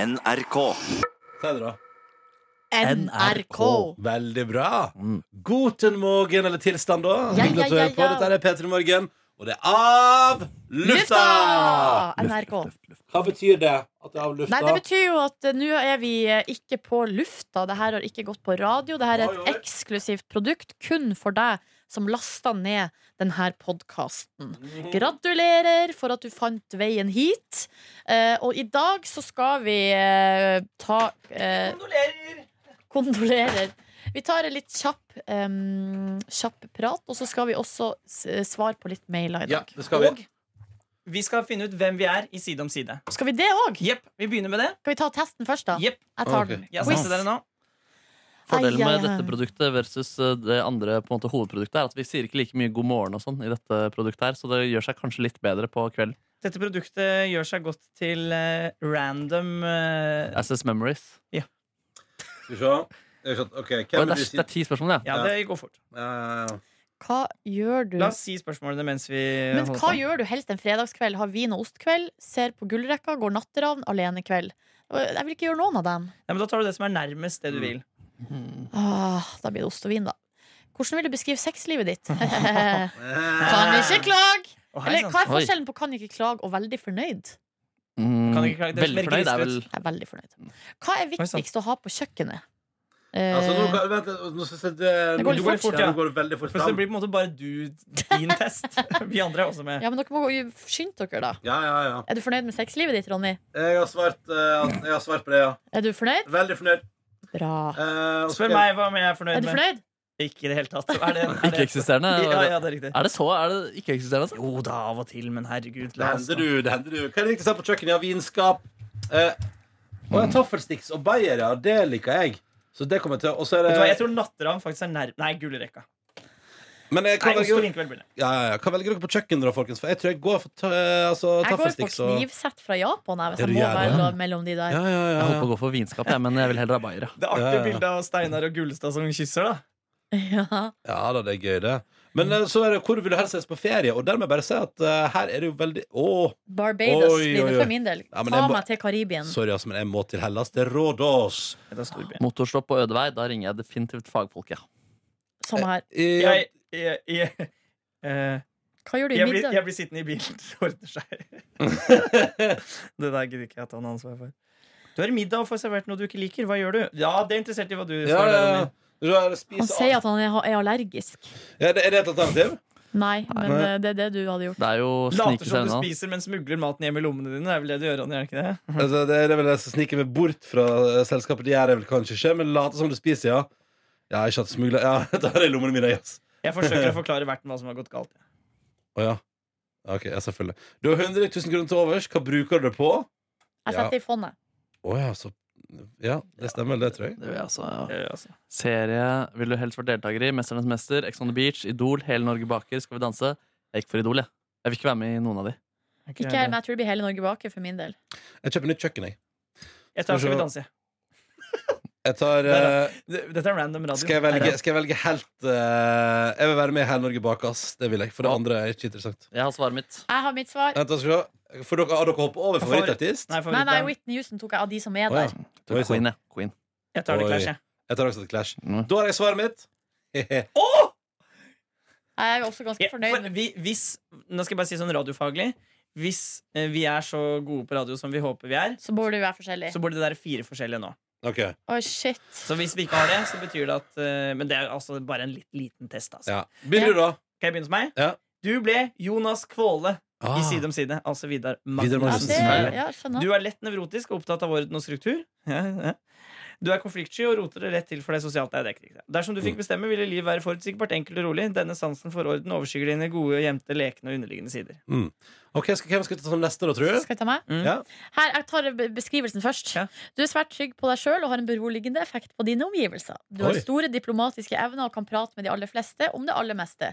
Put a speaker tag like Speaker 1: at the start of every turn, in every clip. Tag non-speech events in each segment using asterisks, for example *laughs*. Speaker 1: NRK.
Speaker 2: Si det, da.
Speaker 3: NRK.
Speaker 2: Veldig bra.
Speaker 3: Mm.
Speaker 2: Guten morgen, eller tilstand, da.
Speaker 3: Ja,
Speaker 2: Hyggelig at du
Speaker 3: ja,
Speaker 2: hører på.
Speaker 3: ja, ja.
Speaker 2: Dette er P3 Morgen, og det er av lufta!
Speaker 3: NRK.
Speaker 2: Hva betyr det? At det er av lufta?
Speaker 3: Nei, det betyr jo at eh, nå er vi eh, ikke på lufta. Det her har ikke gått på radio. Det her er
Speaker 2: Oi,
Speaker 3: et
Speaker 2: oi.
Speaker 3: eksklusivt produkt kun for deg som lasta ned denne podkasten.
Speaker 2: Mhm.
Speaker 3: Gratulerer for at du fant veien hit. Eh, og i dag så skal vi eh, ta eh, Kondolerer. Vi tar en litt kjapp, em, kjapp prat, og så skal vi også s- svare på litt mailer i
Speaker 2: Ja,
Speaker 3: dag.
Speaker 2: det skal vi.
Speaker 3: Og
Speaker 4: Vi skal finne ut hvem vi er i Side om side.
Speaker 3: skal vi det òg?
Speaker 4: Jepp, vi begynner med det.
Speaker 3: Skal vi ta testen først, da?
Speaker 4: Jepp,
Speaker 3: Jeg tar
Speaker 2: Ok.
Speaker 3: den.
Speaker 4: jeg
Speaker 3: Quiz.
Speaker 4: sendte dere nå.
Speaker 3: Ai,
Speaker 5: Fordelen
Speaker 3: ai,
Speaker 5: med
Speaker 3: ai.
Speaker 5: dette produktet versus eh, det andre på en måte, hovedproduktet er at vi sier ikke like mye god morgen og sånn i dette produktet her, så det gjør seg kanskje litt bedre på kvelden.
Speaker 4: Dette produktet gjør seg godt til eh, random eh,
Speaker 5: SS Memories.
Speaker 2: Skal vi se. Jeg har skjønt. Ok, hvem
Speaker 5: Oi, det,
Speaker 2: vil
Speaker 5: er,
Speaker 2: du si?
Speaker 5: det er ti spørsmål, ja.
Speaker 4: Ja, det går fort.
Speaker 2: Eh,
Speaker 3: Hva gjør du?
Speaker 4: La oss si spørsmålene mens vi
Speaker 3: Men
Speaker 4: holder
Speaker 3: hva
Speaker 4: på.
Speaker 3: gjør du helst en fredagskveld? Har vin og ostkveld, ser på gullrekka, går natteravn, alenekveld. Og Jeg vil ikke gjøre noen av dem.
Speaker 4: Nei, men da tar du det som er nærmest det du vil.
Speaker 3: Åh, Ah, da blir det ost og vin, da. Hvordan vil du beskrive sexlivet ditt? kan ikke klage!
Speaker 4: Å, hei, sånn.
Speaker 3: Eller
Speaker 4: sant.
Speaker 3: hva er forskjellen på kan ikke klage og veldig fornøyd?
Speaker 5: Mm,
Speaker 4: Kan ikke klage, det er
Speaker 5: veldig
Speaker 4: mer
Speaker 5: fornøyd er vel
Speaker 4: grisefrøtt.
Speaker 3: Jeg er veldig fornøyd. Hva er
Speaker 4: Oi, sant.
Speaker 3: viktigst å ha på kjøkkenet?
Speaker 2: altså, nå,
Speaker 3: Eh,
Speaker 2: kan- vent, litt, nå skal jeg se
Speaker 3: Det
Speaker 2: det- nå
Speaker 3: går litt
Speaker 2: går det
Speaker 4: fort,
Speaker 2: fort,
Speaker 4: ja.
Speaker 2: ja. Nå går det veldig fort
Speaker 4: For så det
Speaker 2: fram.
Speaker 4: blir på en måte bare du
Speaker 3: *laughs*
Speaker 4: din test. *laughs* Vi andre er også med.
Speaker 3: ja, men dere må jo skynde dere, da.
Speaker 2: Ja, ja, ja.
Speaker 3: Er du fornøyd med sexlivet ditt, Ronny?
Speaker 2: Jeg har svart, eh, at- jeg har svart på det, ja.
Speaker 3: Er du fornøyd?
Speaker 2: Veldig fornøyd.
Speaker 3: Bra.
Speaker 2: Eh, og så skal
Speaker 4: Spør
Speaker 2: jeg-
Speaker 4: meg hva om jeg er
Speaker 3: Er du
Speaker 4: fornøyd med.
Speaker 3: fornøyd?
Speaker 4: Ikke i det hele tatt. Er det,
Speaker 5: *laughs*
Speaker 4: er det,
Speaker 5: ikke-eksisterende.
Speaker 4: ja, ja, det er riktig.
Speaker 5: Er det så? Er det ikke-eksisterende? altså?
Speaker 4: Jo da, av og til, men herregud.
Speaker 2: Det
Speaker 4: la oss
Speaker 2: hender
Speaker 4: nå.
Speaker 2: du, det hender du. Hva er det viktigste her på kjøkkenet? Ja, vinskap. Eh, og ja, taffelsticks og bayer, ja. Det liker jeg. Så det kommer jeg til. Og så er
Speaker 4: Vet du hva, Jeg
Speaker 2: det
Speaker 4: tror Natteravn faktisk er nær... Nei, Gullrekka.
Speaker 2: Men eh, jeg
Speaker 4: Nei,
Speaker 2: kan
Speaker 4: Ost og
Speaker 2: velge,
Speaker 4: vinkveld blir det.
Speaker 2: ja, ja, ja. Hva velger dere på kjøkkenet, da, folkens? For jeg tror jeg går for ta, altså,
Speaker 3: Jeg går på
Speaker 2: taffelsticks og
Speaker 3: knivsett fra Japan jeg, hvis
Speaker 2: Er
Speaker 3: jeg
Speaker 2: du
Speaker 3: må
Speaker 2: jævlig?
Speaker 3: velge mellom de der.
Speaker 2: ja, ja,
Speaker 5: Jeg
Speaker 2: ja,
Speaker 5: holdt på
Speaker 2: ja.
Speaker 5: å gå for vinskap, jeg, men jeg vil heller ha bayer. ja.
Speaker 4: Det
Speaker 2: Ja,
Speaker 4: artige
Speaker 2: ja.
Speaker 4: bildet av Steinar og Gullestad som kysser, da.
Speaker 3: *laughs* Ja.
Speaker 2: ja da, det er gøy, det. Men eh, så er det hvor vil du helst reise på ferie? Og der må jeg bare si at eh, her er det jo veldig Å,
Speaker 3: Barbados
Speaker 2: Oi,
Speaker 3: blir
Speaker 2: oi,
Speaker 3: det
Speaker 2: oi.
Speaker 3: for min del.
Speaker 2: Ja, men
Speaker 3: Ta
Speaker 2: jeg må-
Speaker 3: meg til Karibien.
Speaker 2: sorry, altså, men jeg må til Hellas. Det er Rådås.
Speaker 4: Det er storbyen.
Speaker 5: Motorstopp og ødevei, da ringer jeg definitivt fagfolket. Ja.
Speaker 3: Som
Speaker 2: eh,
Speaker 3: her.
Speaker 2: I-
Speaker 4: Jeg, jeg, jeg, eh,
Speaker 3: Hva gjør du i
Speaker 4: jeg, blir,
Speaker 3: middag?
Speaker 4: jeg blir sittende i bilen. *laughs* Det ordner seg.
Speaker 2: *laughs*
Speaker 4: det der gidder ikke jeg ta noe ansvar for. Du har middag og får servert noe du ikke liker. Hva gjør du? Ja, det er interessert i hva du
Speaker 2: ja,
Speaker 4: svarer.
Speaker 2: ja, ja.
Speaker 4: Ronny.
Speaker 2: Du har spist
Speaker 3: Han sier at han er, er allergisk.
Speaker 2: ja, det- Er det et alternativ?
Speaker 3: Nei, men
Speaker 2: Nei.
Speaker 3: eh, det er det du hadde gjort.
Speaker 5: Det er jo å snike
Speaker 4: Later
Speaker 5: seg
Speaker 4: som du
Speaker 5: unna.
Speaker 4: spiser, men smugler maten hjem i lommene dine. Det er vel det du gjør, Ronny? er det ikke det?
Speaker 2: Altså, det er vel det som sniker meg bort fra eh, selskapet. Det gjør jeg vel kanskje ikke, men later som du spiser, ja. Ja, ikke hatt smugla Ja, *laughs* da er det i lommene mine, yes. *laughs*
Speaker 4: Jeg forsøker å forklare verten hva som har gått galt.
Speaker 2: Å ja. Ok, ja, selvfølgelig. Du har 100 000 kroner til overs. Hva bruker du det på?
Speaker 3: Jeg
Speaker 2: Ja.
Speaker 3: setter det i fondet.
Speaker 2: Å ja, så Ja, det stemmer, det tror jeg.
Speaker 5: Det vil jeg altså, ja.
Speaker 4: Eh, altså.
Speaker 5: Serie vil du helst vært deltaker i? Mesternes mester, Ex on the Beach, Idol, Hele Norge baker, Skal vi danse? Jeg gikk for Idol, jeg. Jeg vil ikke være med i noen av de.
Speaker 3: Ikke jeg, men jeg tror det blir hele Norge baker for min del.
Speaker 2: Jeg kjøper nytt kjøkken, jeg.
Speaker 4: Jeg tar Skal vi danse.
Speaker 2: Jeg tar eh,
Speaker 4: Det- Dette er random radio.
Speaker 2: skal, jeg velge, skal jeg velge helt eh, Jeg vil være med i Hele Norge bak, ass. Det vil jeg. For det andre er ikke interessant.
Speaker 5: Jeg har svaret mitt.
Speaker 3: Jeg har mitt svar.
Speaker 2: Vent, da skal vi se. For dere, har dere hoppet over favorittartist?
Speaker 4: Nei,
Speaker 3: Nei, nei,
Speaker 4: favorittband.
Speaker 3: Whitney Houston tok jeg av de som er
Speaker 2: Å ja.
Speaker 3: der.
Speaker 5: Jeg tror
Speaker 2: Oi, sant.
Speaker 5: Queen, jeg. Queen.
Speaker 4: Jeg tar det
Speaker 2: Oi.
Speaker 4: Clash, jeg.
Speaker 2: Jeg tar også The Clash.
Speaker 5: Mm.
Speaker 2: Da har jeg svaret mitt. *laughs*
Speaker 3: Jeg er også ganske
Speaker 4: Ja,
Speaker 3: fornøyd
Speaker 4: for
Speaker 3: med
Speaker 4: vi, hvis, nå skal jeg bare si sånn radiofaglig Hvis eh, vi er så gode på radio som vi håper vi er,
Speaker 3: Så burde vi være forskjellige.
Speaker 4: så burde det være fire forskjellige nå.
Speaker 2: OK.
Speaker 3: Å, shit.
Speaker 4: Så hvis vi ikke har det, så betyr det at eh, Men det er altså bare en litt liten test. Altså.
Speaker 2: Ja. Begynn du, da.
Speaker 4: Kan jeg begynne hos meg?
Speaker 2: Ja.
Speaker 4: Du ble Jonas Kvåle
Speaker 2: Ah.
Speaker 4: i Side om side. Altså Vidar
Speaker 2: Vidar
Speaker 3: Ja,
Speaker 2: Magnussen.
Speaker 4: Magnussen.
Speaker 3: det, ja, skjønner.
Speaker 4: Du er lett nevrotisk og opptatt av orden og struktur. *laughs* Ja, ja. Du er konfliktsky og roter det rett til for deg sosialt. Nei, det er ikke riktig. Dersom du
Speaker 2: Mm.
Speaker 4: fikk bestemme, ville livet være forutsigbart, enkelt og rolig. Denne sansen for orden overskygger dine gode, gjemte, lekne og underliggende sider.
Speaker 2: Ok, skal, Hvem skal vi ta som neste, da, tror du?
Speaker 3: Skal jeg ta meg?
Speaker 4: Mm.
Speaker 2: Ja.
Speaker 3: Her, Jeg tar be- beskrivelsen først.
Speaker 4: Ja.
Speaker 3: Du er svært trygg på deg sjøl og har en beroligende effekt på dine omgivelser. Du har
Speaker 2: Oi.
Speaker 3: store diplomatiske evner og kan prate med de aller fleste om det aller meste.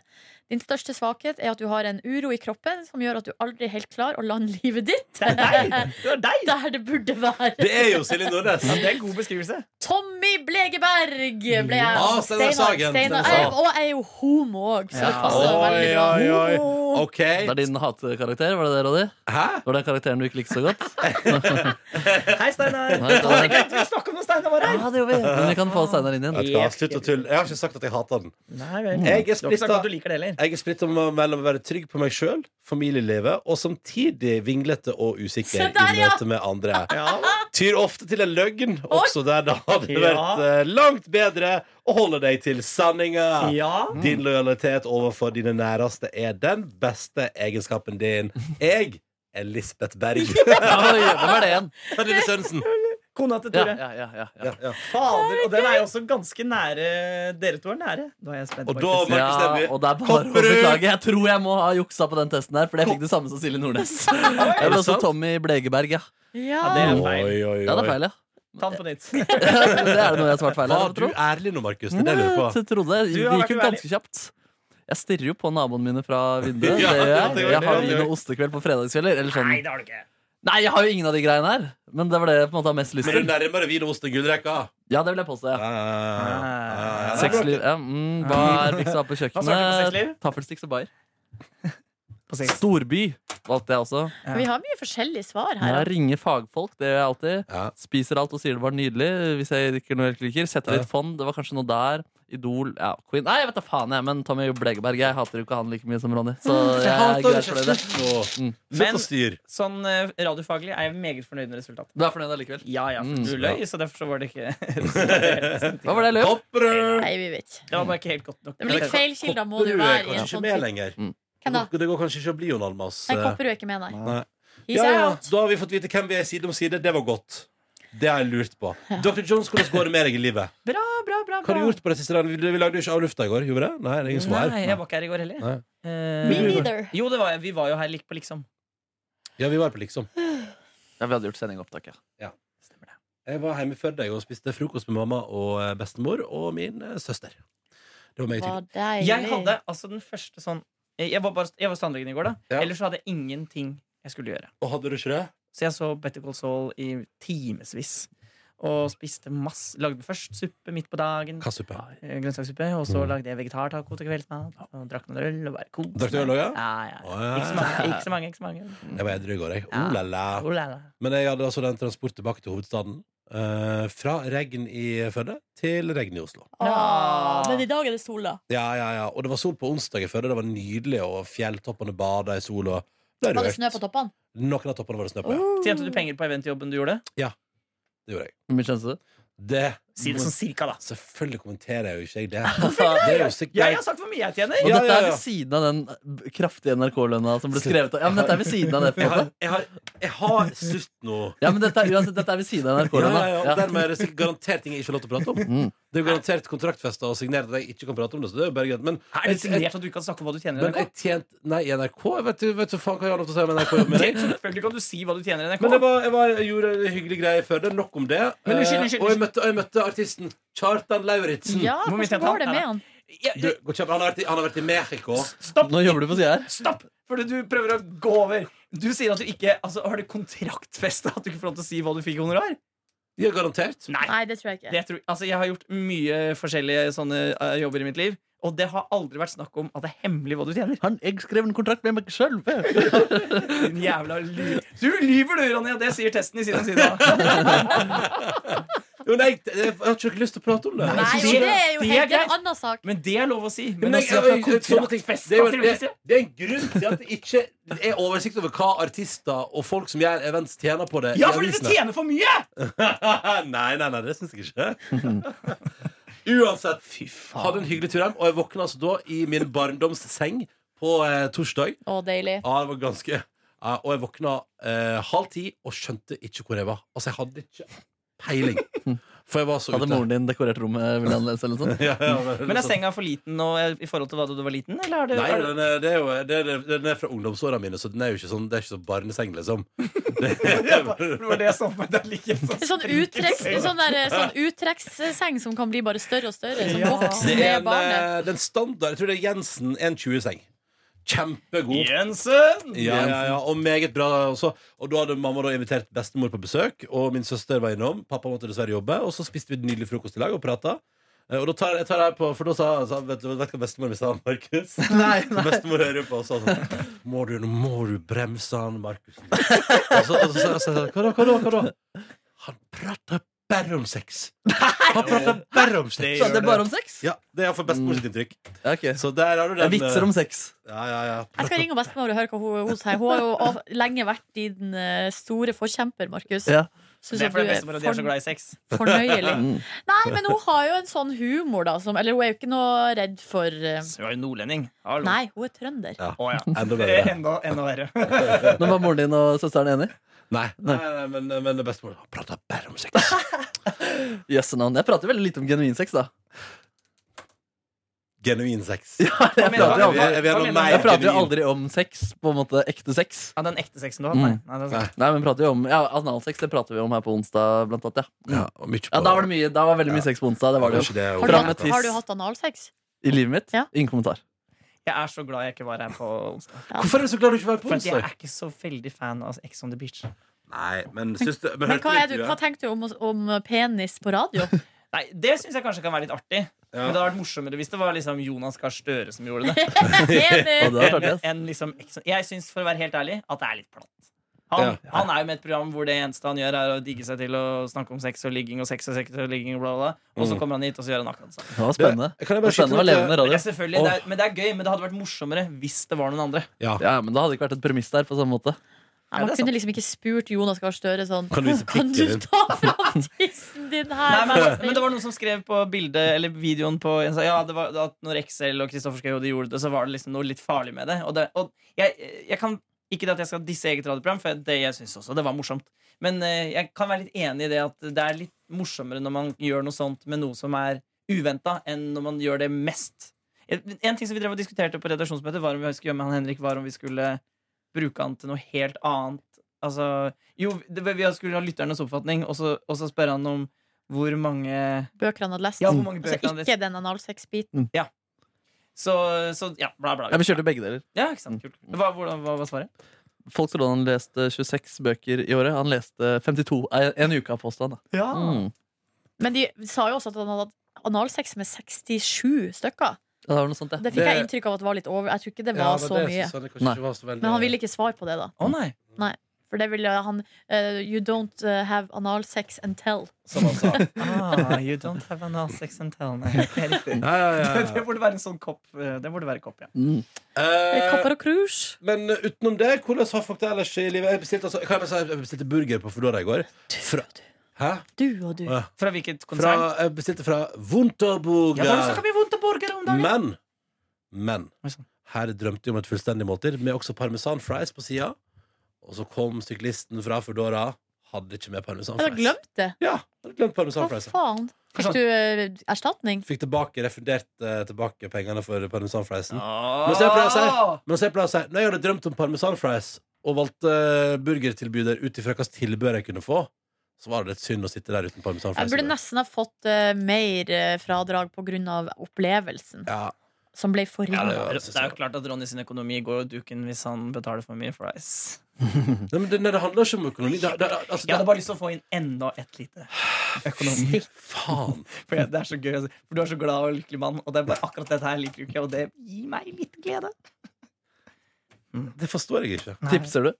Speaker 3: Din største svakhet er at du har en uro i kroppen som gjør at du aldri helt klarer å lande livet ditt
Speaker 4: Det er deg! Det er deg!
Speaker 3: *laughs* der det burde være.
Speaker 2: Det er jo Silje Nordnes!
Speaker 4: Ja, det er en god beskrivelse. anmeldelse.
Speaker 3: Tommy Blegeberg ble jeg.
Speaker 2: Ah,
Speaker 3: altså,
Speaker 2: Steinar Sagen.
Speaker 3: Steinar-
Speaker 2: Steinar
Speaker 3: jeg- Og jeg er jo homo òg, så det
Speaker 4: Ja.
Speaker 3: passer jo veldig bra.
Speaker 2: Oi, oi, oi. OK.
Speaker 5: Det er din hatkarakter, var det det, Roddy?
Speaker 2: Hæ?
Speaker 5: Var det karakteren du ikke likte så godt?
Speaker 4: Hei, Steinar.
Speaker 5: Nei,
Speaker 4: Det var
Speaker 5: Steinar.
Speaker 4: greit vi snakket om når Steinar var her.
Speaker 5: Ja, det gjorde vi. Men vi kan få Steinar inn
Speaker 2: Vet
Speaker 5: igjen.
Speaker 2: du hva, Slutt å tulle. Jeg har ikke sagt at jeg hater den.
Speaker 4: Nei vel.
Speaker 2: Jeg er
Speaker 4: Du har ikke sagt
Speaker 2: splittet.
Speaker 4: at du liker det heller.
Speaker 2: Jeg er splitt om- mellom å være trygg på meg sjøl, familielivet, og samtidig vinglete og usikker
Speaker 3: Se
Speaker 2: i
Speaker 3: der, ja!
Speaker 2: møte med andre.
Speaker 4: Ja,
Speaker 2: Tyr ofte til en løgn, også der det hadde vært eh, langt bedre å holde deg til sanninga.
Speaker 4: ja.
Speaker 2: Din lojalitet overfor dine næreste er den beste egenskapen din. *laughs* Jeg er Lisbeth Berg.
Speaker 5: Oi, hvem er det igjen?
Speaker 2: Pernille Sørensen.
Speaker 4: Kona til
Speaker 5: Ja,
Speaker 4: Tore.
Speaker 5: ja, ja, ja, ja.
Speaker 2: Ja, ja.
Speaker 4: Fader, og den er jo også ganske nære Dere to er nære. Da er jeg spent.
Speaker 2: Og da,
Speaker 4: Markus.
Speaker 2: Markus Neby,
Speaker 5: Ja, og det er bare å
Speaker 2: Kopperud!
Speaker 5: beklage. Jeg tror jeg må ha juksa på den testen her, for jeg fikk det samme som Silje Nordnes. Jeg ble også
Speaker 2: sant?
Speaker 5: Tommy Blegeberg, ja.
Speaker 4: Ja, det
Speaker 3: Ja.
Speaker 4: er
Speaker 2: Oi,
Speaker 4: feil.
Speaker 2: oi, oi.
Speaker 5: Ja, det er feil, ja. *laughs*
Speaker 4: Ta den på
Speaker 2: *laughs*
Speaker 4: nytt.
Speaker 5: det er det noe jeg har svart feil her,
Speaker 2: Var du
Speaker 5: tro.
Speaker 2: ærlig nå, Markus? Det er det jeg lurer på.
Speaker 5: Jeg trodde
Speaker 4: Du
Speaker 5: det. Det
Speaker 4: har
Speaker 5: gikk jo
Speaker 4: vært
Speaker 5: ganske kjapt. Jeg stirrer jo på naboene mine fra vinduet.
Speaker 2: *laughs* Ja, det
Speaker 5: Det gjør jeg.
Speaker 2: gjør
Speaker 5: Jeg har
Speaker 2: det.
Speaker 5: vin og ostekveld på fredagskvelder. Eller sånn.
Speaker 4: Nei, det har du ikke.
Speaker 5: Nei, jeg har jo ingen av de greiene her. Men det var det jeg på en måte har mest lyst
Speaker 2: Men du
Speaker 5: til.
Speaker 2: nærmer deg vin og ost og gullrekka.
Speaker 5: Ja, det vil jeg påstå, ja.
Speaker 4: Ah.
Speaker 5: Sexliv. Ja, mm, hva er miksa på
Speaker 4: Hva svarte du på sexliv?
Speaker 5: kjøkkenet? Taffelsticks og bayer.
Speaker 4: På sex.
Speaker 5: Storby valgte jeg også.
Speaker 4: Ja.
Speaker 3: Vi har mye forskjellige svar her.
Speaker 5: Jeg ringer fagfolk, det gjør jeg alltid.
Speaker 2: Ja.
Speaker 5: Spiser alt og sier det var nydelig. Hvis jeg ikke noe jeg ikke liker Setter litt fond. Det var kanskje noe der. Idol. Ja, Queen. Nei, jeg vet da faen, jeg. Men Tommy Blegeberg, jeg hater jo ikke han like mye som Ronny. Så jeg er greit for det. Mm.
Speaker 2: Slutt å styre.
Speaker 4: Sånn eh, radiofaglig er jeg meget fornøyd med resultatet.
Speaker 5: Du er fornøyd allikevel?
Speaker 4: Ja, ja, for
Speaker 5: Mm.
Speaker 4: du løy, så derfor så var det ikke *laughs*
Speaker 5: Hva var det jeg løp?
Speaker 2: Kopperud!
Speaker 3: Nei, vi vet ikke.
Speaker 4: Det var bare ikke helt godt nok.
Speaker 3: Det blir litt feilkilder, må det jo
Speaker 2: Kopperud er
Speaker 3: være i en
Speaker 2: kanskje ikke
Speaker 3: sånn
Speaker 2: med
Speaker 3: tid.
Speaker 2: lenger.
Speaker 3: Hvem da?
Speaker 2: Det går kanskje ikke å bli Jon Almaas.
Speaker 3: Nei, Kopperud er ikke med, nei.
Speaker 2: Nei.
Speaker 3: He's
Speaker 2: Ja, ja.
Speaker 3: out.
Speaker 2: Da har vi fått vite hvem vi er side om side. Det var godt. Det har jeg lurt på. Dr. Jones, hvordan går det med deg i livet?
Speaker 4: Bra, bra, bra.
Speaker 2: Hva
Speaker 4: bra.
Speaker 2: har du gjort på det siste? dagen? Vi lagde jo ikke av lufta i går, gjorde vi det? Nei, det er ingen som var
Speaker 4: Nei, jeg
Speaker 2: her.
Speaker 4: var ikke her i går heller.
Speaker 2: Nei.
Speaker 4: Eh,
Speaker 3: Me neither.
Speaker 4: jo, det var, jeg. vi var jo her litt på liksom.
Speaker 2: Ja, vi var på liksom.
Speaker 5: Ja, vi hadde gjort sendingopptak, ja.
Speaker 4: Stemmer det.
Speaker 2: Jeg var hjemme før deg og spiste frokost med mamma og eh, bestemor og min eh, søster. Det var meget hyggelig.
Speaker 3: Var deilig.
Speaker 4: Jeg hadde altså den første sånn Jeg var, bare, jeg var hos tannlegen i går, da.
Speaker 2: Ja.
Speaker 4: Ellers så hadde jeg ingenting jeg skulle gjøre.
Speaker 2: Og hadde du ikke det?
Speaker 4: Så jeg så Better Call Saul i timevis. Og spiste masse. Lagde først suppe midt på dagen.
Speaker 2: Hva suppe?
Speaker 4: eh, Grønnsakssuppe. Og så
Speaker 2: Mm.
Speaker 4: lagde jeg vegetartaco til kveldsmat. Og drakk noen øl. Og bare koste
Speaker 2: Drakk du øl også, ja?
Speaker 4: Ja, ja.
Speaker 2: Å, ja.
Speaker 4: Ikke så mange. Ikke så mange, ikke så mange.
Speaker 2: Jeg var edru i går, jeg.
Speaker 4: Ja.
Speaker 2: Oh, la, la.
Speaker 4: Oh, la, la.
Speaker 2: Men jeg hadde altså den transport tilbake til hovedstaden. eh, fra regn i Førde til regn i Oslo.
Speaker 3: Ah, Men i dag er det sol, da.
Speaker 2: Ja, ja, ja. Og det var sol på onsdag i Førde. Det var nydelig, og fjelltoppene bada i sol. Og ble
Speaker 3: Var det
Speaker 2: rørt.
Speaker 3: snø på toppene?
Speaker 2: Noen av toppene var det snø på, ja.
Speaker 3: Uh.
Speaker 4: Tjente du penger på eventjobben du gjorde?
Speaker 2: Det gjorde jeg.
Speaker 5: Hvor mye kjente du?
Speaker 2: Det
Speaker 4: Si det sånn cirka, da.
Speaker 2: Selvfølgelig kommenterer jeg jo ikke jeg *laughs* det. Det er jo
Speaker 4: Jeg
Speaker 2: sikkert
Speaker 4: har sagt hvor mye jeg tjener!
Speaker 5: Og
Speaker 2: Ja,
Speaker 5: dette
Speaker 2: ja,
Speaker 5: er
Speaker 2: ja.
Speaker 5: ved siden av den eh, kraftige NRK-lønna som ble skrevet av Ja, men dette er ved siden av det, på
Speaker 2: Jeg
Speaker 5: en
Speaker 2: har,
Speaker 5: måte.
Speaker 2: jeg har, jeg har Slutt nå.
Speaker 5: Ja, men dette er, uansett, dette er ved siden av
Speaker 2: Ja, ja,
Speaker 5: NRK-lønna.
Speaker 2: ja.
Speaker 5: Ja.
Speaker 2: Og Dermed er det sikkert garantert ting jeg ikke har lov til å prate om.
Speaker 5: Mm.
Speaker 2: Det er jo garantert kontraktfesta og signert at jeg ikke kan prate om det. Så det er jo bare greit. Men,
Speaker 4: Er det signert at du ikke kan snakke om hva du tjener i
Speaker 2: men
Speaker 4: NRK?
Speaker 2: jeg tjente Nei, i NRK? Jeg vet du vet du faen hva jeg har lov til å si om NRK?
Speaker 4: *laughs*
Speaker 2: jobben min?
Speaker 4: Selvfølgelig kan du si hva du tjener i NRK.
Speaker 2: Men jeg, var, jeg, var, jeg gjorde hyggelige greier før det. Nok om det.
Speaker 4: Men unnskyld,
Speaker 2: Eh,
Speaker 4: unnskyld,
Speaker 2: og jeg møtte, jeg møtte artisten Kjartan Lauritzen.
Speaker 3: Ja,
Speaker 4: Hvor
Speaker 3: hvordan
Speaker 4: mye tjente han?
Speaker 3: går det med han?
Speaker 4: Jeg-
Speaker 2: Du, gå kjapt. han, har vært i, han har vært i Mexico.
Speaker 4: Stopp!
Speaker 5: Nå jobber du på sida her.
Speaker 4: Stopp! Fordi du prøver å gå over. Du sier at du ikke altså, Har du kontraktfesta at du ikke får lov til å si hva du fikk i honorar?
Speaker 2: Ja, garantert.
Speaker 3: Nei, det tror jeg ikke.
Speaker 4: Det tror, altså, jeg har gjort mye forskjellige sånne eh, jobber i mitt liv, og det har aldri vært snakk om at det er hemmelig hva du tjener.
Speaker 5: Han, jeg skrev en kontrakt med meg sjøl.
Speaker 4: Din jævla ly Du lyver, du, Ronny, og det sier testen i Side om side.
Speaker 2: *laughs* Jo, nei, jeg, jeg har ikke lyst til å prate om det.
Speaker 3: Nei,
Speaker 4: det-
Speaker 3: og det er jo
Speaker 4: det er
Speaker 3: helt, det er
Speaker 4: greit.
Speaker 3: en annen sak.
Speaker 4: Men det er lov å si.
Speaker 2: Men
Speaker 4: Men altså, å
Speaker 2: jeg-
Speaker 4: si at det er
Speaker 2: jeg- jeg- sånne ting- det, er jo, det,
Speaker 4: kontraktfesta
Speaker 2: det er en grunn til at det ikke er oversikt over hva artister og folk som gjør events, tjener på det. i
Speaker 4: Ja, fordi du
Speaker 2: avisene.
Speaker 4: tjener for mye!
Speaker 2: *laughs* nei, nei, nei, det syns jeg
Speaker 5: *laughs*
Speaker 2: ikke. Uansett, hadde en hyggelig tur hjem, og jeg våkna altså da i min barndomsseng på eh, torsdag.
Speaker 3: Å, deilig.
Speaker 2: Ja, det var ganske ja, Og jeg våkna eh, halv ti og skjønte ikke hvor jeg var. Altså, jeg hadde ikke peiling. For jeg var så
Speaker 5: Hadde moren din dekorert rommet? Ville han lese, eller noe sånt?
Speaker 2: *laughs* Ja, ja, men-
Speaker 4: Men er senga for liten nå, eh, i forhold til hva da du var liten? Eller har du,
Speaker 2: Nei,
Speaker 4: har du-
Speaker 2: den er, det er jo, det er, den er fra ungdomsåra mine, så den er jo ikke sånn, det er ikke sånn barneseng, liksom. Det er,
Speaker 4: Det var det jeg så for meg. Det er
Speaker 2: *laughs*
Speaker 4: like sånn
Speaker 3: Det er sånn uttrekks, det er sånn, der,
Speaker 4: *laughs*
Speaker 3: sånn uttrekksseng som kan bli bare større og større. Som
Speaker 4: Ja.
Speaker 3: vokser
Speaker 2: eh, det er
Speaker 3: med
Speaker 2: en,
Speaker 3: barnet.
Speaker 2: eh, den standard Jeg tror det er Jensen 1,20-seng. Kjempegod.
Speaker 4: Jensen!
Speaker 2: Ja, ja, ja, og meget bra også. Og da hadde mamma da invitert bestemor på besøk, og min søster var innom. Pappa måtte dessverre jobbe, og så spiste vi en nydelig frokost i lag og prata. Eh, Og da tar jeg, tar jeg på, for da sa, sa Vet du vet du hva bestemor mi sa, Markus?
Speaker 4: Nei,
Speaker 2: Så bestemor hører på og sa sånn *laughs* Må du, nå må du bremse han, Markus. Og så og så sa jeg sånn Hva da, hva da? hva da? Han prater bare om sex. Han prater bare om
Speaker 4: Det
Speaker 2: sex.
Speaker 4: gjør
Speaker 5: Så det er bare om sex?
Speaker 2: Ja, Det er iallfall bestemor sitt inntrykk.
Speaker 5: Ja, ok.
Speaker 2: Så der har du
Speaker 5: Det
Speaker 2: den.
Speaker 5: er vitser
Speaker 2: eh,
Speaker 5: om sex.
Speaker 2: Ja, ja, ja.
Speaker 3: Jeg skal ringe bestemor og høre hva hun, hun sier. Hun har jo av- lenge vært din eh, store forkjemper, Markus.
Speaker 5: Ja.
Speaker 3: Synes
Speaker 4: Det er
Speaker 3: at du
Speaker 4: fordi
Speaker 3: er
Speaker 4: bestemora di er så
Speaker 3: forn-
Speaker 4: glad i sex.
Speaker 3: fornøyelig.
Speaker 5: Mm.
Speaker 3: Nei, men hun har jo en sånn humor, da. Som, eller hun er jo ikke noe redd for eh,
Speaker 4: Hun er jo nordlending. Hallo.
Speaker 3: Nei, hun er trønder.
Speaker 4: Å, ja.
Speaker 2: Enda
Speaker 4: Det
Speaker 2: bedre.
Speaker 4: er Enda, enda verre.
Speaker 2: *laughs* eh,
Speaker 5: Men var moren din og søsteren enig?
Speaker 2: Nei, nei, nei men, eh, men bestemor Han prater bare om sex.
Speaker 5: Jøsse navn. Jeg prater veldig lite om genuin sex, da.
Speaker 2: Genuin sex.
Speaker 4: Hva mener
Speaker 5: prater
Speaker 4: du?
Speaker 5: jo aldri-
Speaker 4: Hva
Speaker 2: jeg vil ha noe
Speaker 4: mener du?
Speaker 2: mer.
Speaker 5: Jeg prater jo
Speaker 2: genuin.
Speaker 5: aldri om sex, på en måte ekte sex.
Speaker 4: Ja, den ekte sexen du har hatt? Nei.
Speaker 5: Mm.
Speaker 4: Nei, det er sant.
Speaker 5: Nei, men prater jo om ja, Analsex det prater vi om her på onsdag, blant annet. Ja,
Speaker 2: Ja, og mye på
Speaker 5: ja da var det mye, da var veldig mye sex på onsdag. Det var det jo.
Speaker 2: Kanskje det er
Speaker 3: Har du,
Speaker 2: overraskende.
Speaker 5: Fram med
Speaker 3: hatt,
Speaker 5: tiss.
Speaker 3: har du hatt analsex?
Speaker 5: I livet mitt.
Speaker 3: Ja.
Speaker 5: Ingen kommentar.
Speaker 4: Jeg er så glad jeg ikke var her på onsdag.
Speaker 2: Hvorfor er du så glad du ikke var på
Speaker 4: For at jeg
Speaker 2: onsdag?
Speaker 4: er ikke så veldig fan av Ex on the beach.
Speaker 2: Nei, men syns du Men
Speaker 3: Men
Speaker 2: hørte
Speaker 3: hva, er du, hva
Speaker 2: det?
Speaker 3: tenker du om, om penis på
Speaker 2: *laughs*
Speaker 3: radio?
Speaker 4: Nei, Det syns jeg kanskje kan være litt artig.
Speaker 2: Ja.
Speaker 4: Men det hadde vært morsommere hvis det var liksom Jonas Gahr Støre som gjorde det.
Speaker 5: Og
Speaker 3: Penis!
Speaker 5: det var artig,
Speaker 4: Enn
Speaker 5: ass.
Speaker 4: enn liksom Ex on- Jeg syns, for å være helt ærlig, at det er litt platt. Han,
Speaker 2: Ja.
Speaker 4: han er jo med et program hvor det eneste han gjør, er å digge seg til å snakke om sex og ligging og sex og sex og ligging og bla, bla, bla. Og så
Speaker 2: Mm.
Speaker 4: kommer han hit og så gjør han akkurat det samme.
Speaker 5: Det var spennende.
Speaker 2: Det- kan jeg bare
Speaker 5: Det var spennende å
Speaker 2: skyte
Speaker 5: være
Speaker 2: litt,
Speaker 4: Ja,
Speaker 5: levende radio.
Speaker 4: selvfølgelig, det er, men det er gøy, men det hadde vært morsommere hvis det var noen andre.
Speaker 2: Ja.
Speaker 5: Ja, men da hadde det ikke vært et premiss der på samme måte.
Speaker 3: Nei,
Speaker 4: Ja,
Speaker 3: man
Speaker 4: det er sant.
Speaker 3: kunne liksom ikke spurt Jonas Gahr Støre sånn
Speaker 2: Kan du vise
Speaker 3: Kan du
Speaker 2: pikken din?»
Speaker 3: ta fram tissen din her?
Speaker 4: Nei, men, men det var noen som skrev på bildet eller videoen på en sa- Ja, det var at når Excel og Kristoffer Schou de gjorde det, så var det liksom noe litt farlig med det. Og, det, og jeg, jeg kan ikke det at jeg skal disse eget radioprogram, for det jeg synes også det var morsomt. Men eh, jeg kan være litt enig i det at det er litt morsommere når man gjør noe sånt med noe som er uventa, enn når man gjør det mest. En en ting som vi drev og diskuterte på redaksjonsmøtet, var om vi skulle gjøre med han Henrik, var om vi skulle bruke han til noe helt annet. Altså, jo, det, vi skulle ha lytternes oppfatning, og så, og så spørre han om hvor mange
Speaker 3: Bøker han hadde lest.
Speaker 4: Ja, hvor mange bøker
Speaker 3: altså,
Speaker 4: han hadde
Speaker 3: ikke den analsex-biten.
Speaker 4: Så, så ja, bla, bla. liksom.
Speaker 5: Ja, vi kjørte begge deler.
Speaker 4: Ja, ikke sant, kult. Hva, hvordan, hva var svaret?
Speaker 5: Folk trodde han leste 26 bøker i året. Han leste 52 ei- en uke av påstand. da.
Speaker 4: Ja.
Speaker 5: Mm.
Speaker 3: Men de sa jo også at han hadde hatt analsex med 67 stykker.
Speaker 5: Ja, Det var noe sånt, ja.
Speaker 3: Det fikk jeg
Speaker 2: Det-
Speaker 3: inntrykk av at var litt over. Jeg tror ikke det
Speaker 2: Ja,
Speaker 3: var
Speaker 2: det
Speaker 3: så
Speaker 2: det jeg
Speaker 3: mye.
Speaker 2: synes han kanskje
Speaker 5: Nei.
Speaker 2: ikke var så veldig-
Speaker 3: Men han ville ikke svare på det, da.
Speaker 4: Å nei.
Speaker 3: For det ville han eh, You don't eh, have analsex and tell.
Speaker 2: Som *laughs* han sa.
Speaker 4: Ah, you don't have anal sex and tell. Nei, det er riktig.
Speaker 2: Ja, ja, ja,
Speaker 4: *laughs* Det
Speaker 2: ja.
Speaker 4: burde være en sånn kopp. eh, Det burde være kopp, ja.
Speaker 5: Mm.
Speaker 2: Eh,
Speaker 3: Kapper og krus.
Speaker 2: men utenom det, hvordan har folk det ellers i livet? Jeg bestilte, altså, kan jeg bare si, jeg bestilte burger på Foodora i går. Fra, hæ?
Speaker 3: Du og du.
Speaker 2: Å, ja.
Speaker 4: Fra hvilket
Speaker 2: Fra,
Speaker 4: konsern?
Speaker 2: jeg bestilte fra
Speaker 4: Ja, da har du snakket
Speaker 2: Wunderburger.
Speaker 4: mye vondt om borgere om dagen.
Speaker 2: Men, men
Speaker 4: Oi, sånn.
Speaker 2: Her drømte jeg om et fullstendig måltid Med også parmesan fries på siden Og så kom syklisten fra Foodora Hadde ikke med parmesan
Speaker 3: Jeg hadde
Speaker 2: fries
Speaker 3: glemt det.
Speaker 2: Ja, hadde glemt parmesan
Speaker 3: Hva
Speaker 2: fries
Speaker 3: faen? Fikk du eh, erstatning?
Speaker 2: Fikk tilbake, refundert eh, tilbake pengene for parmesan friesen
Speaker 4: Åh.
Speaker 2: Men så jeg pleier å si- Men så jeg pleier å si Når jeg hadde drømt om parmesan fries Og valgte eh, burgertilbuder ut ifra hvilket tilbør jeg kunne få Så var det litt synd å sitte der uten parmesan
Speaker 3: Jeg
Speaker 2: fries
Speaker 3: burde nesten ha fått eh, mer eh, fradrag pga. opplevelsen,
Speaker 2: Ja,
Speaker 3: som ble
Speaker 4: Ja,
Speaker 3: forringa.
Speaker 4: det, er, det er jo klart at Ronny sin økonomi går jo duken hvis han betaler for mye fries.
Speaker 2: Nei, men det, nei, det handler ikke om økonomi det, det, altså,
Speaker 4: Jeg hadde
Speaker 2: det,
Speaker 4: bare lyst til å få inn enda et lite økonomi.
Speaker 2: Faen
Speaker 4: For jeg- det er så gøy, altså. For du er så glad og lykkelig mann, og det er bare akkurat dette her liker du ikke, og det gir meg litt glede.
Speaker 2: Det forstår jeg ikke
Speaker 5: Tipser du?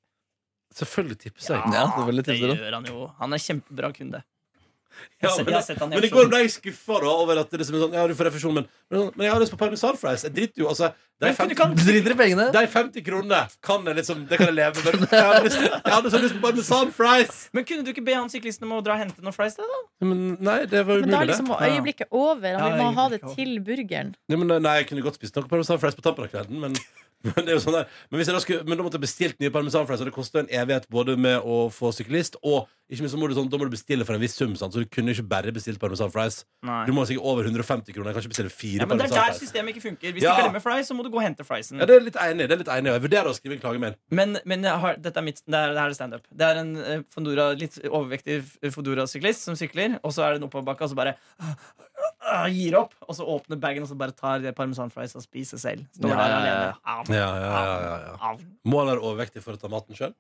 Speaker 2: Selvfølgelig tipser jeg
Speaker 5: Ja, selvfølgelig
Speaker 4: det
Speaker 5: tipser du.
Speaker 4: gjør han jo. Han er kjempebra kunde. Jeg
Speaker 2: Ja,
Speaker 4: har, sett, jeg har sett han i
Speaker 2: Men i
Speaker 4: aksjon.
Speaker 2: går ble jeg skuffa da, over at det liksom er sånn, ja, du får refusjon, men, men, sånn, men jeg har lyst på parmesan fries. Jeg driter jo, altså. De
Speaker 4: Men du
Speaker 2: 50,
Speaker 4: kan-
Speaker 5: Driter i pengene.
Speaker 2: de 50 kronene kan jeg liksom Det kan jeg leve med. Jeg hadde, lyst, jeg hadde så lyst på parmesan fries!
Speaker 4: Men kunne du ikke be han syklisten om å dra og hente noen fries? da, da?
Speaker 2: Men nei, det var
Speaker 3: Men da
Speaker 2: umulig,
Speaker 3: er liksom
Speaker 2: det.
Speaker 3: øyeblikket over.
Speaker 4: Ja,
Speaker 3: Han vil må ha det
Speaker 4: øyeblikket over.
Speaker 3: til burgeren.
Speaker 2: Nei, men, nei, jeg kunne godt spist noe parmesan fries på tampen av kvelden, men *laughs* men, det er jo sånn der. men, hvis jeg da skulle, men da måtte jeg bestilt nye parmesan fries, og det kosta en evighet både med å få syklist og ikke minst så må du sånn, Da må du bestille for en viss sum, sant? så du kunne ikke bare bestilt parmesan fries. Du må sikkert over 150 kroner. Jeg kan ikke bestille fire
Speaker 4: Ja, men Det er
Speaker 2: parmesan
Speaker 4: der
Speaker 2: fries.
Speaker 4: systemet ikke funker. Hvis
Speaker 2: Ja.
Speaker 4: du glemmer fries, så må du gå og hente friesen.
Speaker 2: Ja, det er litt enig, det er litt enig og Jeg vurderer å skrive en klagemail.
Speaker 4: Men, men jeg har, dette er mitt, det er, det her er standup. Det er en eh, Fondora, litt overvektig Fodora-syklist som sykler, og så er det en oppoverbakke, og så bare øh, gir opp, og så åpner bagen og så bare tar det parmesan fries og spiser selv. Står
Speaker 5: Ja,
Speaker 4: der
Speaker 5: ja, ja.
Speaker 4: alene. Au,
Speaker 2: Ja, ja, ja, ja, ja.
Speaker 4: au.
Speaker 2: Må han være overvektig for å ta maten sjøl?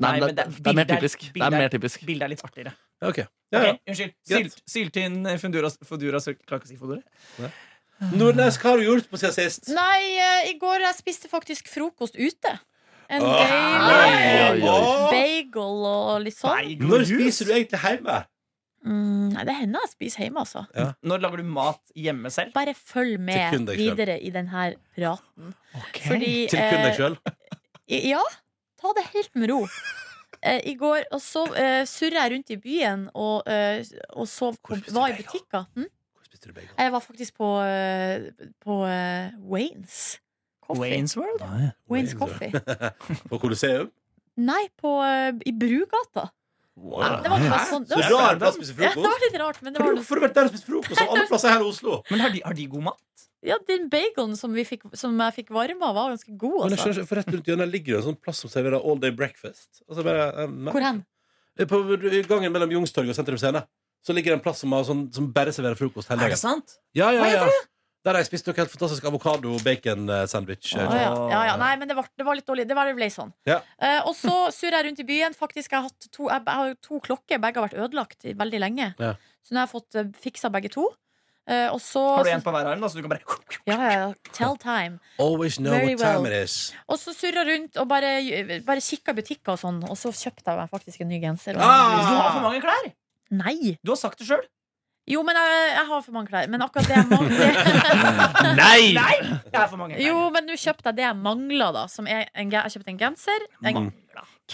Speaker 5: Nei,
Speaker 4: Nei,
Speaker 5: men
Speaker 4: men
Speaker 5: det,
Speaker 4: det-
Speaker 5: det er mer
Speaker 4: bilder-
Speaker 5: typisk. Det er
Speaker 4: bilder-
Speaker 5: mer typisk.
Speaker 4: Bildet er litt artigere.
Speaker 2: Ja, ok. ja, ja.
Speaker 4: Ok, Unnskyld.
Speaker 2: Greit.
Speaker 4: Sylt- Syltynn fundura, fundura Klarer ikke å si fodora.
Speaker 2: Nordnes, hva har du gjort på siden sist?
Speaker 3: Nei, eh, i går jeg spiste faktisk frokost ute. En
Speaker 2: Åh,
Speaker 3: deilig
Speaker 5: Oi, oi, oi.
Speaker 3: bagel og litt sånn.
Speaker 4: Nei,
Speaker 2: Når
Speaker 4: god jul.
Speaker 2: spiser du egentlig hjemme?
Speaker 3: Mm, nei, det hender jeg spiser hjemme, altså.
Speaker 4: Når lager du mat hjemme selv?
Speaker 3: Bare
Speaker 2: Til
Speaker 3: følg
Speaker 2: kun
Speaker 3: med
Speaker 2: deg selv.
Speaker 3: videre i denne praten. Fordi
Speaker 2: Til kun deg
Speaker 3: eh,
Speaker 2: sjøl?
Speaker 3: I- Ja, ta det helt med ro. Eh, I går og så eh, surra jeg rundt i byen og, eh, og så
Speaker 2: Hvor spiste du
Speaker 3: var i
Speaker 2: deg, da?
Speaker 3: butikker. Hm?
Speaker 2: Hvor spiste du bagel?
Speaker 3: Jeg var faktisk på, eh, på eh, Waynes. Coffee. Waynes.
Speaker 4: Wayne's World?
Speaker 5: Nei.
Speaker 3: Coffee.
Speaker 2: På Colosseum?
Speaker 3: Nei, på, eh, i Brugata.
Speaker 2: Wow.
Speaker 3: Det var ikke bare sånn det
Speaker 2: Så
Speaker 3: var,
Speaker 2: rar plass å spise
Speaker 3: *laughs* ja, det
Speaker 2: frokost.
Speaker 3: var litt rart, men det
Speaker 2: Hvorfor har
Speaker 3: var
Speaker 2: du- Hvorfor har du vært der og spist frokost? Av alle plasser her i Oslo.
Speaker 4: Men har de, har de god mat?
Speaker 3: Ja, den bagelen som, vi fikk, som jeg fikk varma, var ganske god.
Speaker 2: Men jeg
Speaker 3: Altså.
Speaker 2: skjønner ikke, for rett rundt hjørnet ligger det en sånn plass som serverer all day breakfast. Altså bare, eh, nei.
Speaker 3: Hvor hen?
Speaker 2: På i gangen mellom Youngstorget og Sentrum Scene Så ligger det en plass som, har sånn, som bare serverer frokost hele
Speaker 4: Er det
Speaker 2: dagen.
Speaker 4: sant?
Speaker 2: Ja, ja,
Speaker 4: Hva heter
Speaker 2: ja. Der har jeg spist noe helt fantastisk eh, avokado-bacon-sandwich.
Speaker 3: Å, ja. Ja, ja. Nei, men det var, det var litt dårlig. Det var det ble sånn.
Speaker 2: Ja.
Speaker 3: Eh, og så surrer jeg rundt i byen. Faktisk, jeg har hatt to, jeg, jeg har jo to klokker. Begge har vært ødelagt i veldig lenge.
Speaker 2: Ja.
Speaker 3: Så nå har jeg fått eh, fiksa begge to. Eh, og så
Speaker 4: Har du en på hver arm, da, så du kan bare
Speaker 3: Ja, ja, ja. Tell time.
Speaker 2: Always know
Speaker 3: Very
Speaker 2: what time
Speaker 3: well.
Speaker 2: it is.
Speaker 3: Og så surra rundt og bare, bare kikka i butikker og sånn. Og så kjøpte jeg meg faktisk en ny genser. Og en
Speaker 2: Ah!
Speaker 4: Du
Speaker 3: ny
Speaker 4: har
Speaker 3: bluse.
Speaker 4: for mange klær!
Speaker 3: Nei!
Speaker 4: Du har sagt det sjøl.
Speaker 3: Jo, men jeg, jeg har for mange klær. Men akkurat det jeg mangler *laughs*
Speaker 5: Nei!
Speaker 4: Nei! Det er for mange klær.
Speaker 3: Jo, men nå kjøpte jeg det jeg mangla, da. Som er en, ge- jeg kjøpte en genser.
Speaker 2: Mm.
Speaker 3: En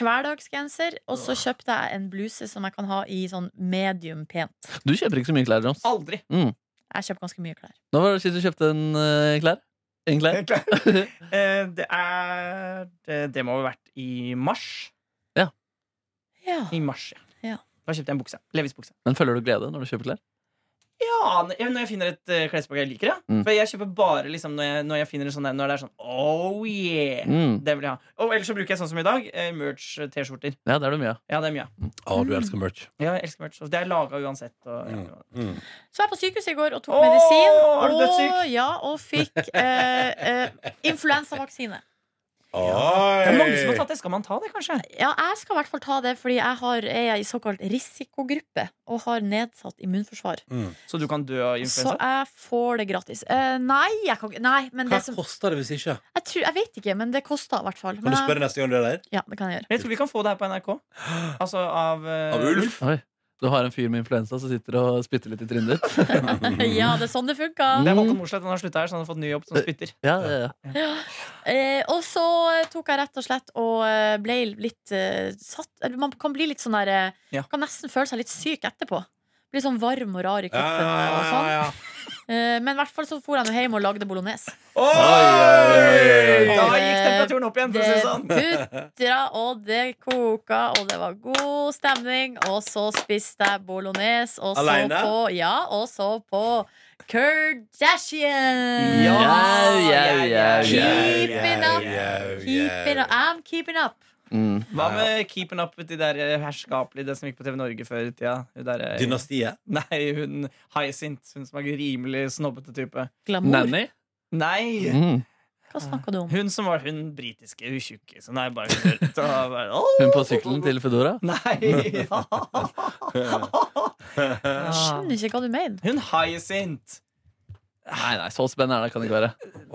Speaker 3: hverdagsgenser. Og så kjøpte jeg en bluse som jeg kan ha i sånn medium pent.
Speaker 5: Du kjøper ikke så mye klær, Joms.
Speaker 4: Aldri.
Speaker 3: Jeg kjøper ganske mye klær.
Speaker 5: Nå var det sist du kjøpte en eh, klær. En klær.
Speaker 4: Eh, Det er Det, det må ha vært i mars.
Speaker 3: Ja.
Speaker 4: I mars,
Speaker 3: Ja.
Speaker 4: Da kjøpte jeg en bukse. Levis-bukse.
Speaker 5: *laughs* Men føler du glede når du kjøper klær?
Speaker 4: Ja, n- når jeg finner et eh, klesplagg jeg liker, ja.
Speaker 5: Mm.
Speaker 4: For jeg kjøper bare liksom når jeg, når jeg finner en sånn der- Når det er sånn oh yeah!
Speaker 5: Mm.
Speaker 4: Det vil jeg ha. Og ellers så bruker jeg sånn som i dag. eh, Merch-T-skjorter.
Speaker 5: Ja, det er du mye av.
Speaker 4: Ja, det er mye av.
Speaker 2: Å, du elsker merch.
Speaker 4: Ja, jeg elsker merch. Og det er laga uansett. Og, ja.
Speaker 2: Mm.
Speaker 3: Så var jeg på sykehuset i går og tok
Speaker 4: Åh,
Speaker 3: medisin.
Speaker 4: er du dødssyk?
Speaker 3: Og, ja, og fikk eh, eh, influensavaksine.
Speaker 4: Det er mange som har tatt det. Skal man ta det, kanskje?
Speaker 3: Ja, jeg skal i hvert fall ta det, fordi jeg har, er jeg i såkalt risikogruppe og har nedsatt immunforsvar.
Speaker 2: Mm.
Speaker 4: Så du kan dø av
Speaker 3: Så
Speaker 4: influensa?
Speaker 3: jeg får det gratis. Eh, nei, jeg kan ikke Nei, men
Speaker 2: Hva
Speaker 3: det som
Speaker 2: koster det hvis ikke?
Speaker 3: jeg, tror, jeg vet ikke, men det koster i hvert fall.
Speaker 2: Kan du spørre neste gang du er der?
Speaker 3: Ja, det kan jeg gjøre.
Speaker 4: Men jeg tror vi kan få det her på NRK. Altså av, eh,
Speaker 2: Av Ulf?
Speaker 5: Oi. Du har en fyr med influensa som sitter og spytter litt i trynet ditt.
Speaker 2: *laughs*
Speaker 3: Ja, det er sånn det funker.
Speaker 4: Det er
Speaker 5: Mm.
Speaker 4: Håkon Mosleth. Han har slutta her, så han har fått ny jobb som spytter.
Speaker 5: Ja, ja, ja.
Speaker 3: Eh, og så tok jeg rett og slett og eh, ble litt eh, satt eller Man kan bli litt sånn der eh,
Speaker 4: Ja.
Speaker 3: Kan nesten føle seg litt syk etterpå. Bli sånn varm og rar i
Speaker 2: Ja,
Speaker 3: kroppen.
Speaker 2: ja,
Speaker 3: Og
Speaker 2: ja,
Speaker 3: sånn.
Speaker 2: ja, ja.
Speaker 3: Eh, men i hvert fall så for jeg nå hjem og lagde bolognese.
Speaker 2: Oi, oi, oi,
Speaker 4: Da
Speaker 2: oi.
Speaker 4: gikk temperaturen opp igjen, for å
Speaker 3: Det
Speaker 4: si det sånn.
Speaker 3: putra og det koka, og det var god stemning. Og så spiste jeg bolognese, og så
Speaker 2: Alene?
Speaker 3: på Ja, og så på Kardashian!
Speaker 5: Ja, ja, ja, ja.
Speaker 3: Keep it up.
Speaker 2: Yeah, Oh, yeah.
Speaker 3: Keeping, I'm keeping up.
Speaker 5: Mm.
Speaker 4: Hva med keeping up with de der eh, herskapelige, det som gikk på TV Norge før i tida? Hun der, eh,
Speaker 2: Dynastiet?
Speaker 4: *laughs* Nei, hun Hyacinth. Hun som er rimelig snobbete type.
Speaker 3: Glamour.
Speaker 5: Nanny?
Speaker 4: Nei!
Speaker 5: Mm.
Speaker 3: Hva snakker du om?
Speaker 4: Hun som var hun britiske, hun tjukke. Som er bare knølt og bare Åh!
Speaker 5: Hun på sykkelen til Foodora?
Speaker 4: Nei! Ja.
Speaker 3: Jeg skjønner ikke hva du mener.
Speaker 4: *laughs* Hun Hyacinth.
Speaker 5: Nei, nei, så spennende er det, kan det ikke være.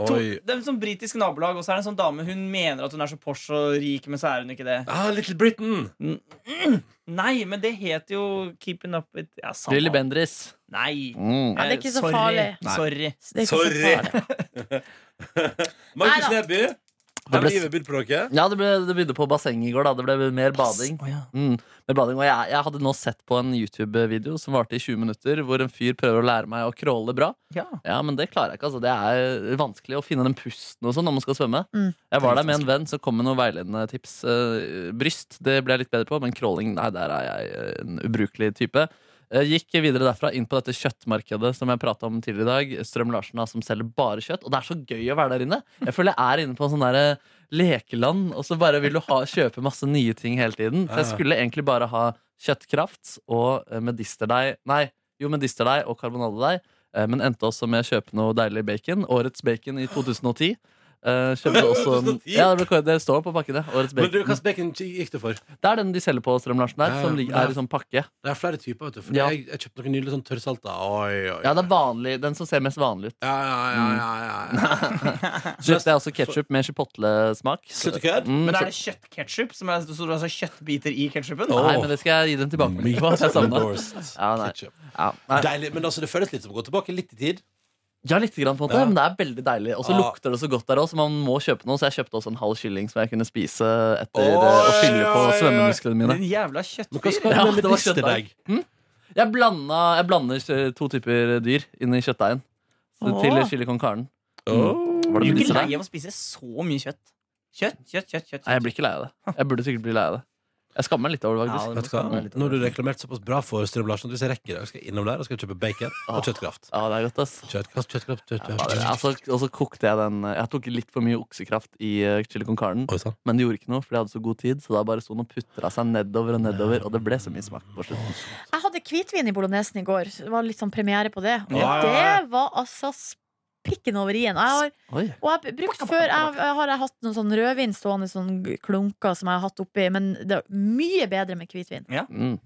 Speaker 4: To,
Speaker 2: Oi.
Speaker 4: det er en sånn britisk nabolag, og så er det en sånn dame Hun mener at hun er så posh og rik, men så er hun ikke det.
Speaker 2: Ah, Little Britain!
Speaker 4: Nei, men det heter jo Keeping Up With ja, samme.
Speaker 5: Lilly Bendriss.
Speaker 4: Nei.
Speaker 5: Mm.
Speaker 3: Ja, det er ikke så
Speaker 4: Sorry.
Speaker 3: farlig.
Speaker 5: Nei.
Speaker 4: Sorry.
Speaker 3: Det er ikke så
Speaker 2: Sorry. *laughs*
Speaker 3: farlig.
Speaker 2: Markus
Speaker 3: Neida.
Speaker 2: Neby,
Speaker 5: Det
Speaker 2: har
Speaker 5: ble-
Speaker 2: livet bydd på dere?
Speaker 5: Ja, det, ble, det begynte på basseng i går. da Det ble mer bading.
Speaker 4: Å, ja.
Speaker 5: Mm, mer bading. Og jeg, jeg hadde nå sett på en YouTube-video som varte i 20 minutter, hvor en fyr prøver å lære meg å crawle bra.
Speaker 4: Ja.
Speaker 5: Ja, men det klarer jeg ikke. altså Det er vanskelig å finne den pusten og sånn når man skal svømme.
Speaker 3: Mm.
Speaker 5: Jeg var der med en venn, så kom med noen veiledende tips. Eh, Bryst det ble jeg litt bedre på, men crawling, nei, der er jeg eh, en ubrukelig type. Eh, Gikk videre derfra inn på dette kjøttmarkedet som jeg prata om tidligere i dag. Strøm-Larsen da, som selger bare kjøtt. Og det er så gøy å være der inne! Jeg føler jeg er inne på en sånn derre lekeland, og så bare vil du ha, kjøpe masse nye ting hele tiden. Så jeg skulle egentlig bare ha kjøttkraft og eh, medisterdeig Nei, Jo, medisterdeig og karbonadedeig. eh, Men endte også med å kjøpe noe deilig bacon. Årets bacon i 2010. Eh,
Speaker 2: *laughs*
Speaker 5: kjøpte også
Speaker 2: 2010?
Speaker 5: Ja, det, ble, det står på pakkene. Årets
Speaker 2: Men du,
Speaker 5: bacon.
Speaker 2: Hvilken bacon gikk det for?
Speaker 5: Det er den de selger på Strøm-Larsen der,
Speaker 2: Ja, ja,
Speaker 5: som ligger, er i
Speaker 2: det er-
Speaker 5: sånn pakke.
Speaker 2: Det er flere typer. vet du For
Speaker 5: Ja.
Speaker 2: jeg, jeg kjøpte noen nydelige sånn tørrsalta. Oi, oi.
Speaker 5: Ja, det er vanlig, den som ser mest vanlig ut.
Speaker 2: Ja, ja, ja, ja,
Speaker 5: Mm.
Speaker 2: ja,
Speaker 5: *laughs*
Speaker 2: ja.
Speaker 5: Kjøpte jeg også ketsjup med chipotle-smak.
Speaker 2: Slutt å kødde.
Speaker 5: Mm,
Speaker 4: Men
Speaker 5: så-
Speaker 4: er det kjøttketchup? som er- Så du har så kjøttbiter i ketsjupen?
Speaker 2: Åh.
Speaker 5: Nei, men det skal jeg gi dem tilbakemelding på. at Jeg savner.
Speaker 2: Endorsed
Speaker 5: *laughs* Ja, nei.
Speaker 2: Mm. ketchup.
Speaker 5: Ja, nei.
Speaker 2: Deilig, men altså, det føles litt som å gå tilbake litt i tid.
Speaker 5: ja, litt, grann, på en måte,
Speaker 2: Ja. Ah.
Speaker 5: men det er veldig deilig. Og så
Speaker 2: Ja.
Speaker 5: lukter det så godt der òg, så man må kjøpe noe. Så jeg kjøpte også en halv kylling som jeg kunne spise
Speaker 2: Oi,
Speaker 5: etter eh, å fylle på
Speaker 2: oi, oi.
Speaker 5: svømmemusklene mine.
Speaker 4: Din
Speaker 2: Men hva
Speaker 4: jævla kjøttbit.
Speaker 2: skal du
Speaker 5: Ja,
Speaker 2: med
Speaker 5: det var
Speaker 2: medisterdeig?
Speaker 5: Jeg, blanda, jeg blander eh, to typer dyr inni kjøttdeigen. Så
Speaker 4: Åh.
Speaker 5: Til chili con carne.
Speaker 2: Åh.
Speaker 5: Var Mm. det
Speaker 4: Blir du ikke
Speaker 5: medisterdeig?
Speaker 4: lei av å spise så mye kjøtt? Kjøtt, kjøtt, kjøtt. kjøtt,
Speaker 5: Nei, jeg blir ikke lei av det. Jeg burde sikkert bli lei av det. Jeg skammer meg litt over det,
Speaker 4: Ja,
Speaker 5: faktisk.
Speaker 4: det-
Speaker 2: Vet du hva? Nå har du reklamert såpass bra for Strøm Larsen at hvis jeg rekker det, jeg skal innom der og skal kjøpe bacon og kjøttkraft.
Speaker 5: Ja, det er godt, ass.
Speaker 2: Kjøttkraft, kjøttkraft,
Speaker 5: Ah. Ja, det
Speaker 2: kjøttkraft.
Speaker 5: er- altså, og så kokte jeg den eh, Jeg tok litt for mye oksekraft i eh, chili con carne.
Speaker 2: Oi sann.
Speaker 5: Men det gjorde ikke noe, for jeg hadde så god tid. Så da bare sto den og putra seg nedover og nedover, og det ble så mye smak på slutten.
Speaker 3: Jeg hadde hvitvin i bolognesen i går. så Det var litt sånn premiere på det. Og
Speaker 2: Ja, ja, ja.
Speaker 3: det var altså spikken over i-en. Jeg har
Speaker 5: Oi.
Speaker 3: Og jeg har brukt før jeg, har- jeg har hatt noen sånn rødvin stående sånn klunker som jeg har hatt oppi, men det er mye bedre med hvitvin.
Speaker 5: Mm.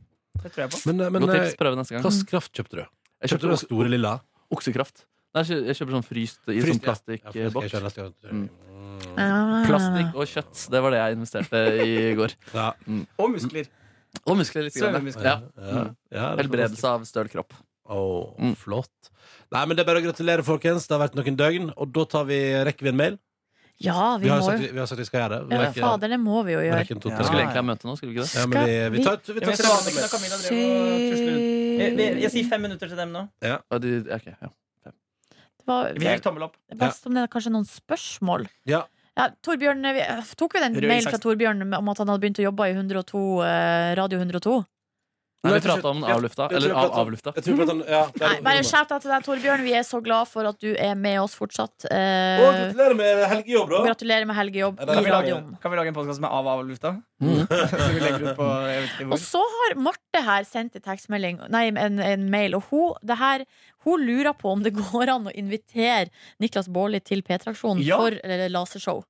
Speaker 4: Det tror jeg på.
Speaker 2: Men, eh, men
Speaker 5: Godt
Speaker 2: eh,
Speaker 5: tips. Prøve neste
Speaker 2: hva
Speaker 5: gang.
Speaker 2: slags kraft kjøpte du?
Speaker 5: Jeg
Speaker 2: Kjøpte du den
Speaker 5: kjøpte
Speaker 2: store lilla?
Speaker 5: oksekraft. Nei, jeg kjø- jeg kjøper sånn fryst i sånn
Speaker 2: Fryst, ja. Ja, for det skal jeg
Speaker 5: plastikkboks.
Speaker 2: kjøre neste gang. Mm.
Speaker 3: Ah.
Speaker 5: Plastikk og kjøtt. Det var det jeg investerte i i går.
Speaker 2: Ja.
Speaker 4: Og muskler.
Speaker 5: Og muskler litt. Grann,
Speaker 4: Svømmemuskler.
Speaker 5: ja.
Speaker 2: Ja. Ja, det er fantastisk.
Speaker 5: Mm. Helbredelse av støl kropp.
Speaker 2: Åh,
Speaker 5: Mm.
Speaker 2: Flott. Nei, men Det er bare å gratulere, folkens. Det har vært noen døgn. Og da tar vi, rekker vi en mail.
Speaker 3: Ja,
Speaker 2: Vi,
Speaker 3: vi
Speaker 2: har
Speaker 3: må
Speaker 2: sagt,
Speaker 3: jo
Speaker 2: vi har sagt vi skal gjøre det. Vi
Speaker 3: ja,
Speaker 2: rekker-
Speaker 3: Fader, det må vi jo
Speaker 2: vi
Speaker 3: gjøre.
Speaker 2: rekker en to-tre.
Speaker 5: Vi skulle
Speaker 4: Ja.
Speaker 5: egentlig ha møte nå, skulle vi ikke det?
Speaker 2: Ja, men vi, vi tar, vi
Speaker 4: Ja, men
Speaker 2: tar
Speaker 4: jeg skal vanligvis snakke om Camilla drev og tusler. Jeg, jeg, jeg sier fem minutter til dem nå.
Speaker 5: Ja, de, ja, ok, ja.
Speaker 3: Det var
Speaker 4: Vi fikk tommel opp.
Speaker 3: best om det er kanskje noen spørsmål.
Speaker 2: Ja.
Speaker 3: Ja, Torbjørn, vi, tok vi den
Speaker 4: Røe
Speaker 3: mail
Speaker 4: Isaksen.
Speaker 3: fra Torbjørn om at han hadde begynt å jobbe i 102, eh, Radio 102?
Speaker 2: Nei,
Speaker 5: Nei, vi prata om den
Speaker 2: jeg-
Speaker 5: av
Speaker 2: jeg
Speaker 5: lufta.
Speaker 2: tror
Speaker 5: Eller
Speaker 2: jeg prater
Speaker 5: av
Speaker 2: om-
Speaker 5: avlufta.
Speaker 2: Jeg tror at han, ja, det er-
Speaker 3: Nei, bare shout out til deg, Torbjørn. Vi er så glad for at du er med oss fortsatt.
Speaker 2: Å,
Speaker 3: Eh,
Speaker 2: Gratulerer med helgejobb,
Speaker 3: og
Speaker 2: da!
Speaker 3: gratulerer med helgejobb
Speaker 2: Ja, det er
Speaker 4: Kan
Speaker 3: i
Speaker 4: vi lage,
Speaker 3: radioen.
Speaker 4: kan vi lage en podkast med Av av lufta?
Speaker 5: Mm.
Speaker 4: Så vi legger *laughs* ut på jeg vet ikke
Speaker 3: Og
Speaker 4: hvor.
Speaker 3: så har Marte her sendt en tekstmelding Nei, en, en mail Og hun, det her, hun lurer på om det går an å invitere Niklas Bårli til P-traksjonen
Speaker 4: Ja.
Speaker 3: For eller, lasershow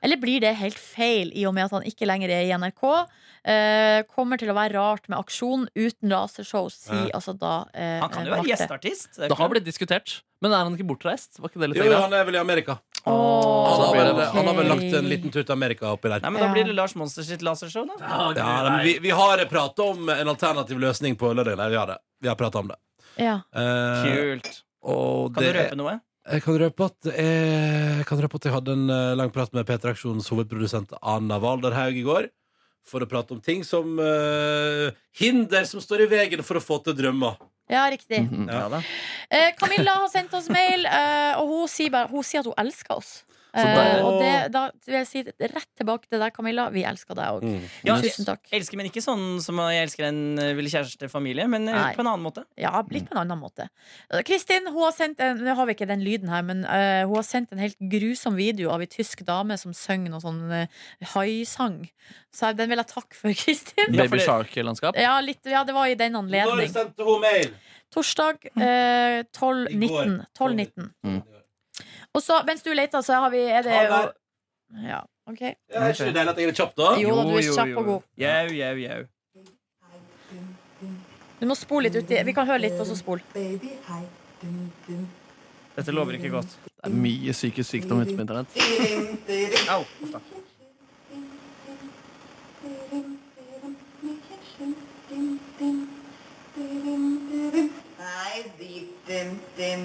Speaker 3: Eller blir det helt feil I og med at han ikke lenger er i NRK eh, Kommer til å være rart med aksjon Uten lasershow Sier altså da eh,
Speaker 4: Han kan jo være
Speaker 3: Marte.
Speaker 4: gjesteartist. det er
Speaker 5: Det
Speaker 4: ikke
Speaker 5: har blitt diskutert. Men er han ikke bortreist? Var ikke det litt
Speaker 2: Jo,
Speaker 5: feil, da?
Speaker 2: han er vel i Amerika.
Speaker 3: Åh,
Speaker 2: Han har vel,
Speaker 5: ok.
Speaker 2: han har vel lagt en liten tur til Amerika oppi der.
Speaker 4: Nei, men Da
Speaker 3: Ja.
Speaker 4: blir det Lars Monster sitt lasershow, da.
Speaker 2: Ja, nei, men vi, vi har pratet om en alternativ løsning på lørdagen. Nei, vi har det. Vi har pratet om det.
Speaker 3: ja.
Speaker 2: Eh,
Speaker 4: Kult.
Speaker 2: og
Speaker 4: Kan du
Speaker 2: det er-
Speaker 4: røpe
Speaker 3: Mm.
Speaker 4: noe?
Speaker 2: Jeg Eh, kan røpe at jeg, jeg kan røpe at jeg hadde en eh, lang prat med Peter Aksjonens hovedprodusent Anna Walderhaug i går. For å prate om ting som eh, hinder som står i veien for å få til drømmer.
Speaker 3: ja, riktig
Speaker 5: Mhm.
Speaker 2: Ja.
Speaker 4: da.
Speaker 3: Eh, Camilla har sendt oss mail, eh, og hun sier, bare, hun sier at hun elsker oss. Eh,
Speaker 5: deilig.
Speaker 3: og det, da vil jeg si rett tilbake til deg, Camilla. Vi elsker deg òg.
Speaker 4: Ja,
Speaker 3: Tusen takk.
Speaker 4: elsker, men ikke sånn som jeg elsker en eh, ville kjæreste-familie, men eh,
Speaker 3: Nei.
Speaker 4: på en annen måte.
Speaker 3: Ja, litt på en annen måte. Eh, Kristin, hun har sendt en Nå har vi ikke den lyden her, men eh, hun har sendt en helt grusom video av ei tysk dame som synger noe sånn eh, haisang. Så den vil jeg takke for, *laughs* Kristin.
Speaker 5: Baby
Speaker 4: Ja, for
Speaker 5: Shark-landskap.
Speaker 3: Ja, litt, ja, det var i den anledning.
Speaker 2: sendte hun mail?
Speaker 3: Torsdag eh, 12.19. 12.19. Og så, mens du leter, så har vi er det,
Speaker 2: Ta
Speaker 3: Ja, OK.
Speaker 2: Ja, er ikke det deilig at jeg er kjapp, da?
Speaker 3: Jo da, du er kjapp og god.
Speaker 4: Jau, jau, jau.
Speaker 3: Du må spole litt uti. Vi kan høre litt, og så spole.
Speaker 1: Baby, hei. Dum, dum.
Speaker 4: Dette lover ikke godt.
Speaker 5: Det er mye psykisk sykdom ute på internett.
Speaker 1: Dirim, dirim,
Speaker 4: Au. uff da.
Speaker 1: dirim, dirim, mye slim, dim, dim. Dirim, dirim. Hei, dim, dim, dim.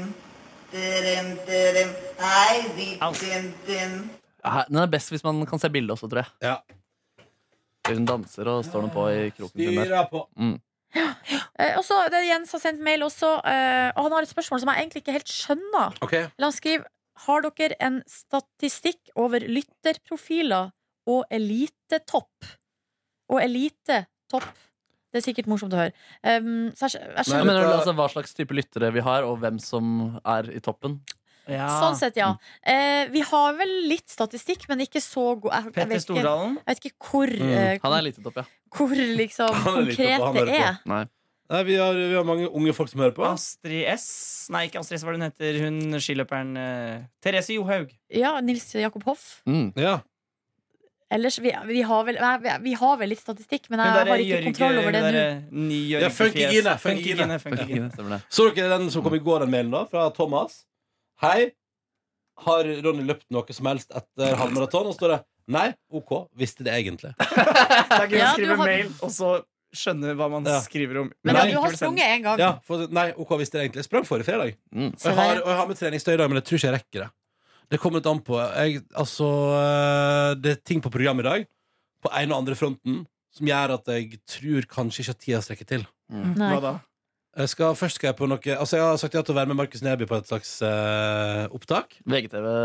Speaker 1: Dirim, dirim. Hei, dim,
Speaker 4: Au.
Speaker 1: dim, dim.
Speaker 5: Ja, Den er best hvis man kan se bildet også, tror jeg.
Speaker 2: Ja.
Speaker 5: Eller Hun danser og står noe på i kroken sin der.
Speaker 2: Styrer på.
Speaker 3: Eh, og så, det er Jens har sendt mail også, eh, og han har et spørsmål som jeg egentlig ikke helt skjønner.
Speaker 2: Ok,
Speaker 3: Eller han skriver Har dere en statistikk over lytterprofiler og elitetopp? Og elitetopp. Det er sikkert morsomt å høre. Um, så jeg, skj- jeg
Speaker 5: Jeg
Speaker 3: skjønner
Speaker 2: Nei, men-
Speaker 5: mener, altså, hva slags type lyttere vi har, og hvem som er i toppen.
Speaker 4: Ja.
Speaker 3: Sånn sett, ja. Eh, vi har vel litt statistikk, men ikke så god jeg, jeg,
Speaker 4: Petter
Speaker 3: vet ikke,
Speaker 4: Stordalen.
Speaker 3: jeg vet ikke hvor,
Speaker 2: Mm.
Speaker 3: eh,
Speaker 5: Han er lite topp, ja.
Speaker 3: hvor liksom
Speaker 2: *laughs* Han er litt oppe,
Speaker 3: konkret
Speaker 2: han
Speaker 3: det
Speaker 2: hører på.
Speaker 3: er.
Speaker 5: Nei.
Speaker 2: Nei, vi har, vi har mange unge folk som hører på.
Speaker 4: Astrid S. Nei, ikke Astrid S, hva er det hun heter. Hun skiløperen eh, Therese Johaug.
Speaker 3: Ja, Nils Jakob Hoff.
Speaker 5: Mm.
Speaker 2: Ja.
Speaker 3: Ellers, vi, vi, har vel, nei, vi- vi har vel litt statistikk, men jeg
Speaker 4: Hun
Speaker 3: har ikke kontroll over det nå.
Speaker 2: Ja, Funkygine, Funkygine.
Speaker 4: Funkygine. Funkygine.
Speaker 5: *laughs* Stemmer det.
Speaker 2: Så dere den som kom i går, den mailen da, fra Thomas? Hei. Har Ronny løpt noe som helst etter halvmaraton? Og så står det Nei, OK, visste det egentlig.
Speaker 4: Det er gøy å
Speaker 3: Ja, du
Speaker 4: skrive
Speaker 3: har-
Speaker 4: mail og så skjønne hva man
Speaker 2: Ja.
Speaker 4: skriver om.
Speaker 3: Men
Speaker 2: Nei,
Speaker 3: ja, du har
Speaker 4: likevel send.
Speaker 3: sprunget én gang.
Speaker 2: Ja, for, nei, OK, visste det egentlig. Jeg sprang forrige fredag.
Speaker 5: Mm.
Speaker 2: Og jeg har, og jeg har med treningstøy i dag, men jeg tror ikke jeg rekker det. Det kommer litt an på. Jeg, altså, eh, det er ting på programmet i dag, på ene og andre fronten, som gjør at jeg tror kanskje ikke at tida strekker til.
Speaker 3: Nei.
Speaker 4: Hva da?
Speaker 2: Jeg skal, først skal jeg på noe Altså, jeg har sagt ja til å være med Markus Neby på et slags eh, opptak.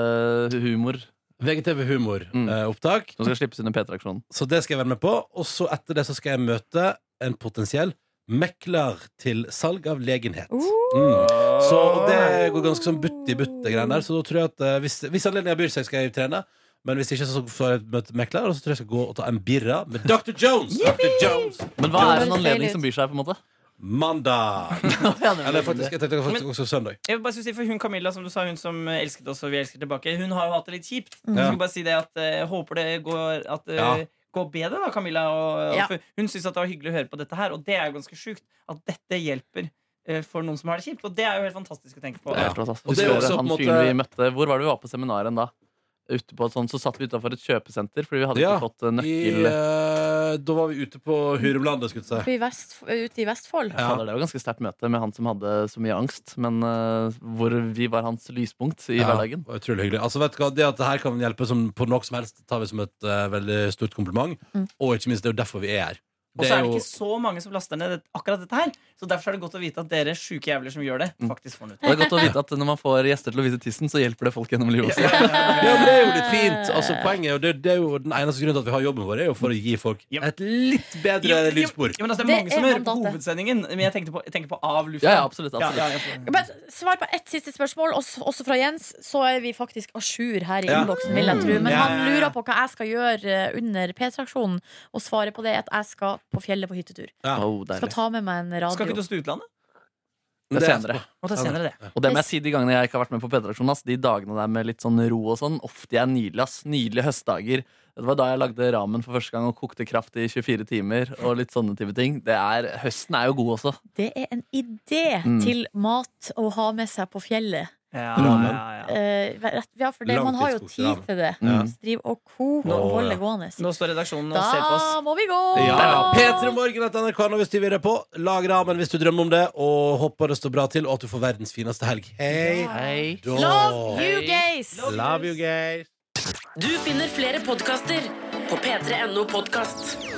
Speaker 5: VGTV-humor
Speaker 2: VGTV
Speaker 5: Mm.
Speaker 2: Humor-opptak.
Speaker 5: som skal slippes under P3-aksjonen.
Speaker 2: så det skal jeg være med på. Og så etter det så skal jeg møte en potensiell mekler til salg av legenhet.
Speaker 3: Uh,
Speaker 2: Mm. Så og det går ganske sånn butt i butt, det greiene der. Så da tror jeg at eh, hvis, hvis anledningen byr seg, skal jeg trene. Men hvis ikke, så får jeg møte mekler, og så tror jeg jeg skal gå og ta en birra med Dr. Jones. Dr. Jones
Speaker 5: Men hva er en
Speaker 3: Høres feil
Speaker 5: anledning
Speaker 3: ut.
Speaker 5: som byr seg? på en måte?
Speaker 2: Mandag. Eller faktisk, jeg tenkte faktisk også søndag.
Speaker 4: Jeg vil bare skulle si for hun Camilla, som du sa, hun som elsket oss og vi elsker tilbake, hun har jo hatt det litt kjipt.
Speaker 3: Mm.
Speaker 4: Så
Speaker 2: Ja.
Speaker 4: skal jeg bare si det at eh, jeg håper det går at eh,
Speaker 2: Ja.
Speaker 4: Går bedre da, Camilla og, og
Speaker 3: Ja.
Speaker 4: for Hun syns det var hyggelig å høre på dette her, og det er jo ganske sjukt. At dette hjelper eh, for noen som har det kjipt. Og det er jo helt fantastisk å tenke på.
Speaker 5: Det er helt fantastisk.
Speaker 2: Og det er også på
Speaker 5: Husker dere
Speaker 2: en
Speaker 5: han
Speaker 2: måte-
Speaker 5: fyren vi møtte Hvor var det vi var på seminaret da? Ute på et sånt, så satt vi utafor et kjøpesenter fordi vi hadde
Speaker 2: Ja,
Speaker 5: ikke fått eh,
Speaker 2: I,
Speaker 5: nøkkel.
Speaker 2: eh, da var vi ute på Hurumlandet, skulle jeg si.
Speaker 3: i Vest, ute i Vestfold.
Speaker 2: Ja.
Speaker 5: Fader, det var ganske sterkt møte med han som hadde så mye angst, men eh, hvor vi var hans lyspunkt i
Speaker 2: Ja,
Speaker 5: hverdagen.
Speaker 2: det var Utrolig hyggelig. Altså, vet du hva, det at det her kan hjelpe som, på noe som helst, tar vi som et eh, veldig stort kompliment.
Speaker 3: Mm.
Speaker 2: Og ikke minst, det er jo derfor vi er her.
Speaker 4: Og så er det ikke så mange som laster ned det, akkurat dette her. Så derfor er det godt å vite at dere sjuke jævler som gjør det,
Speaker 5: Mm.
Speaker 4: faktisk får den ut.
Speaker 5: Og det er godt å vite at når man får gjester til å vise tissen, så hjelper det folk gjennom livet også.
Speaker 2: ja, men det er jo litt fint. Altså, poenget er jo, det, det er jo Den eneste grunnen til at vi har jobben vår, er jo for å gi folk
Speaker 4: Ja.
Speaker 2: et litt bedre
Speaker 4: Jo, jo,
Speaker 2: lydspor.
Speaker 4: jo, men altså, det
Speaker 3: Det
Speaker 4: er mange som
Speaker 3: er
Speaker 4: hører på
Speaker 3: mandatet.
Speaker 4: hovedsendingen, men jeg tenkte på, jeg tenker på av lufta.
Speaker 5: Ja, ja, absolutt, absolutt.
Speaker 4: Ja, ja, jeg får-
Speaker 3: Men svar på ett siste spørsmål, også, også fra Jens. Så er vi faktisk à jour her i
Speaker 2: Ja.
Speaker 3: innboksen, vil jeg tro. Men
Speaker 2: Ja, ja,
Speaker 3: han
Speaker 2: ja.
Speaker 3: lurer på hva jeg skal gjøre eh, under P-traksjonen, og svaret på det er at jeg skal på fjellet på hyttetur.
Speaker 2: Ja.
Speaker 5: Oh,
Speaker 3: Skal
Speaker 5: deilig.
Speaker 3: ta med meg en
Speaker 4: Skal ikke
Speaker 3: radio.
Speaker 4: du til utlandet?
Speaker 5: Det er senere.
Speaker 4: Må ta senere det.
Speaker 5: Og det må jeg si de gangene jeg ikke har vært med på P3-aksjonen, ass, de dagene der med litt sånn ro og sånn, ofte de er nydelige, ass. Nydelige høstdager. Det var da jeg lagde ramen for første gang og kokte kraft i 24 timer og litt sånne type ting. Det er, høsten er jo god også.
Speaker 3: Det er en idé
Speaker 5: Mm.
Speaker 3: til mat å ha med seg på fjellet.
Speaker 4: Ja,
Speaker 5: Ramen.
Speaker 4: ja, ja.
Speaker 3: Eh, rett- ja, for det, man har jo
Speaker 2: Langtidskokt
Speaker 3: tid
Speaker 2: ramen.
Speaker 3: til det.
Speaker 5: Ja.
Speaker 3: Så driv og koke
Speaker 2: Nå-
Speaker 3: og holde
Speaker 2: ja.
Speaker 3: gående.
Speaker 4: Nå står redaksjonen og ser på oss.
Speaker 3: Da må vi gå!
Speaker 2: Ja. P3morgen.nrk nå hvis du vil det på. Lag ramen hvis du drømmer om det, og håper det står bra til, og at du får verdens fineste helg. Hei!
Speaker 5: Hei.
Speaker 2: da.
Speaker 3: Love you guys!
Speaker 2: Love you guys.
Speaker 6: Du finner flere podkaster på p3.no podkast.